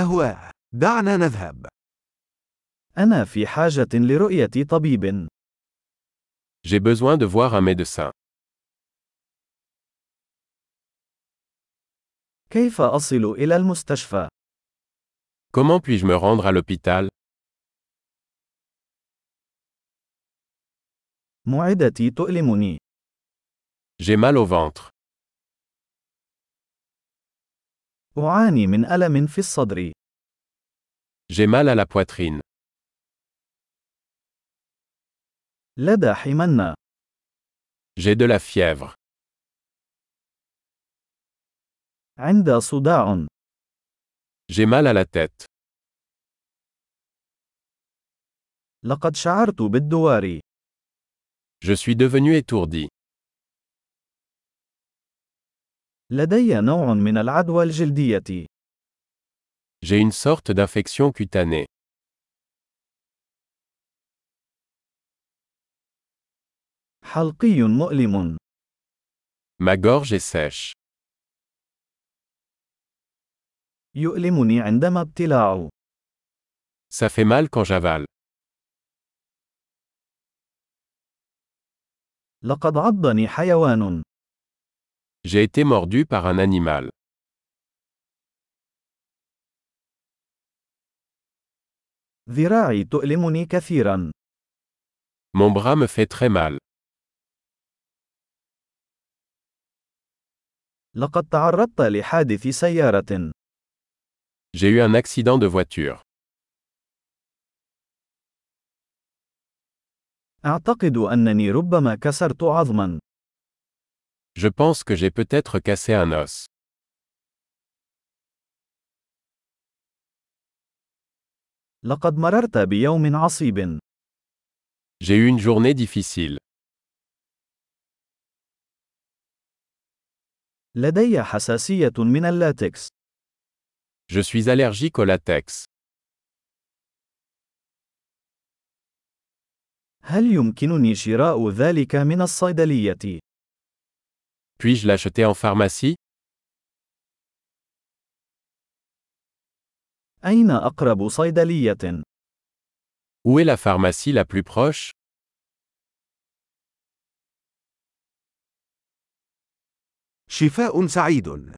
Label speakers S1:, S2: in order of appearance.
S1: أهواه. دعنا نذهب.
S2: أنا في حاجة لرؤية طبيب.
S3: J'ai besoin de voir un médecin.
S2: كيف أصل إلى المستشفى؟
S3: Comment puis-je me rendre à l'hôpital
S2: معدتي تؤلمني.
S3: J'ai mal au ventre.
S2: أعاني من ألم في الصدر.
S3: J'ai mal à la poitrine.
S2: لدى حمنة.
S3: J'ai de la fièvre.
S2: عند صداع.
S3: J'ai mal à la tête.
S2: لقد شعرت بالدوار.
S3: Je suis devenu étourdi.
S2: لدي نوع من العدوى الجلدية.
S3: J'ai une sorte d'infection cutanée.
S2: حلقي مؤلم.
S3: Ma gorge est sèche.
S2: يؤلمني عندما ابتلاع.
S3: Ça fait mal quand j'avale.
S2: لقد عضني حيوان.
S3: J'ai été mordu par un animal.
S2: ذراعي تؤلمني كثيرا.
S3: Mon bras me fait très mal.
S2: لقد تعرضت لحادث سيارة.
S3: J'ai eu un accident de voiture.
S2: أعتقد أنني ربما كسرت عظما.
S3: Je pense que j'ai peut-être cassé un os.
S2: لقد مررت بيوم عصيب.
S3: J'ai eu une journée difficile.
S2: لدي حساسية من اللاتكس.
S3: Je suis allergique au latex.
S2: هل يمكنني شراء ذلك من الصيدلية؟
S3: Puis-je l'acheter en pharmacie
S2: أين أقرب صيدلية؟
S3: Où est la pharmacie la plus proche
S1: شفاء سعيد.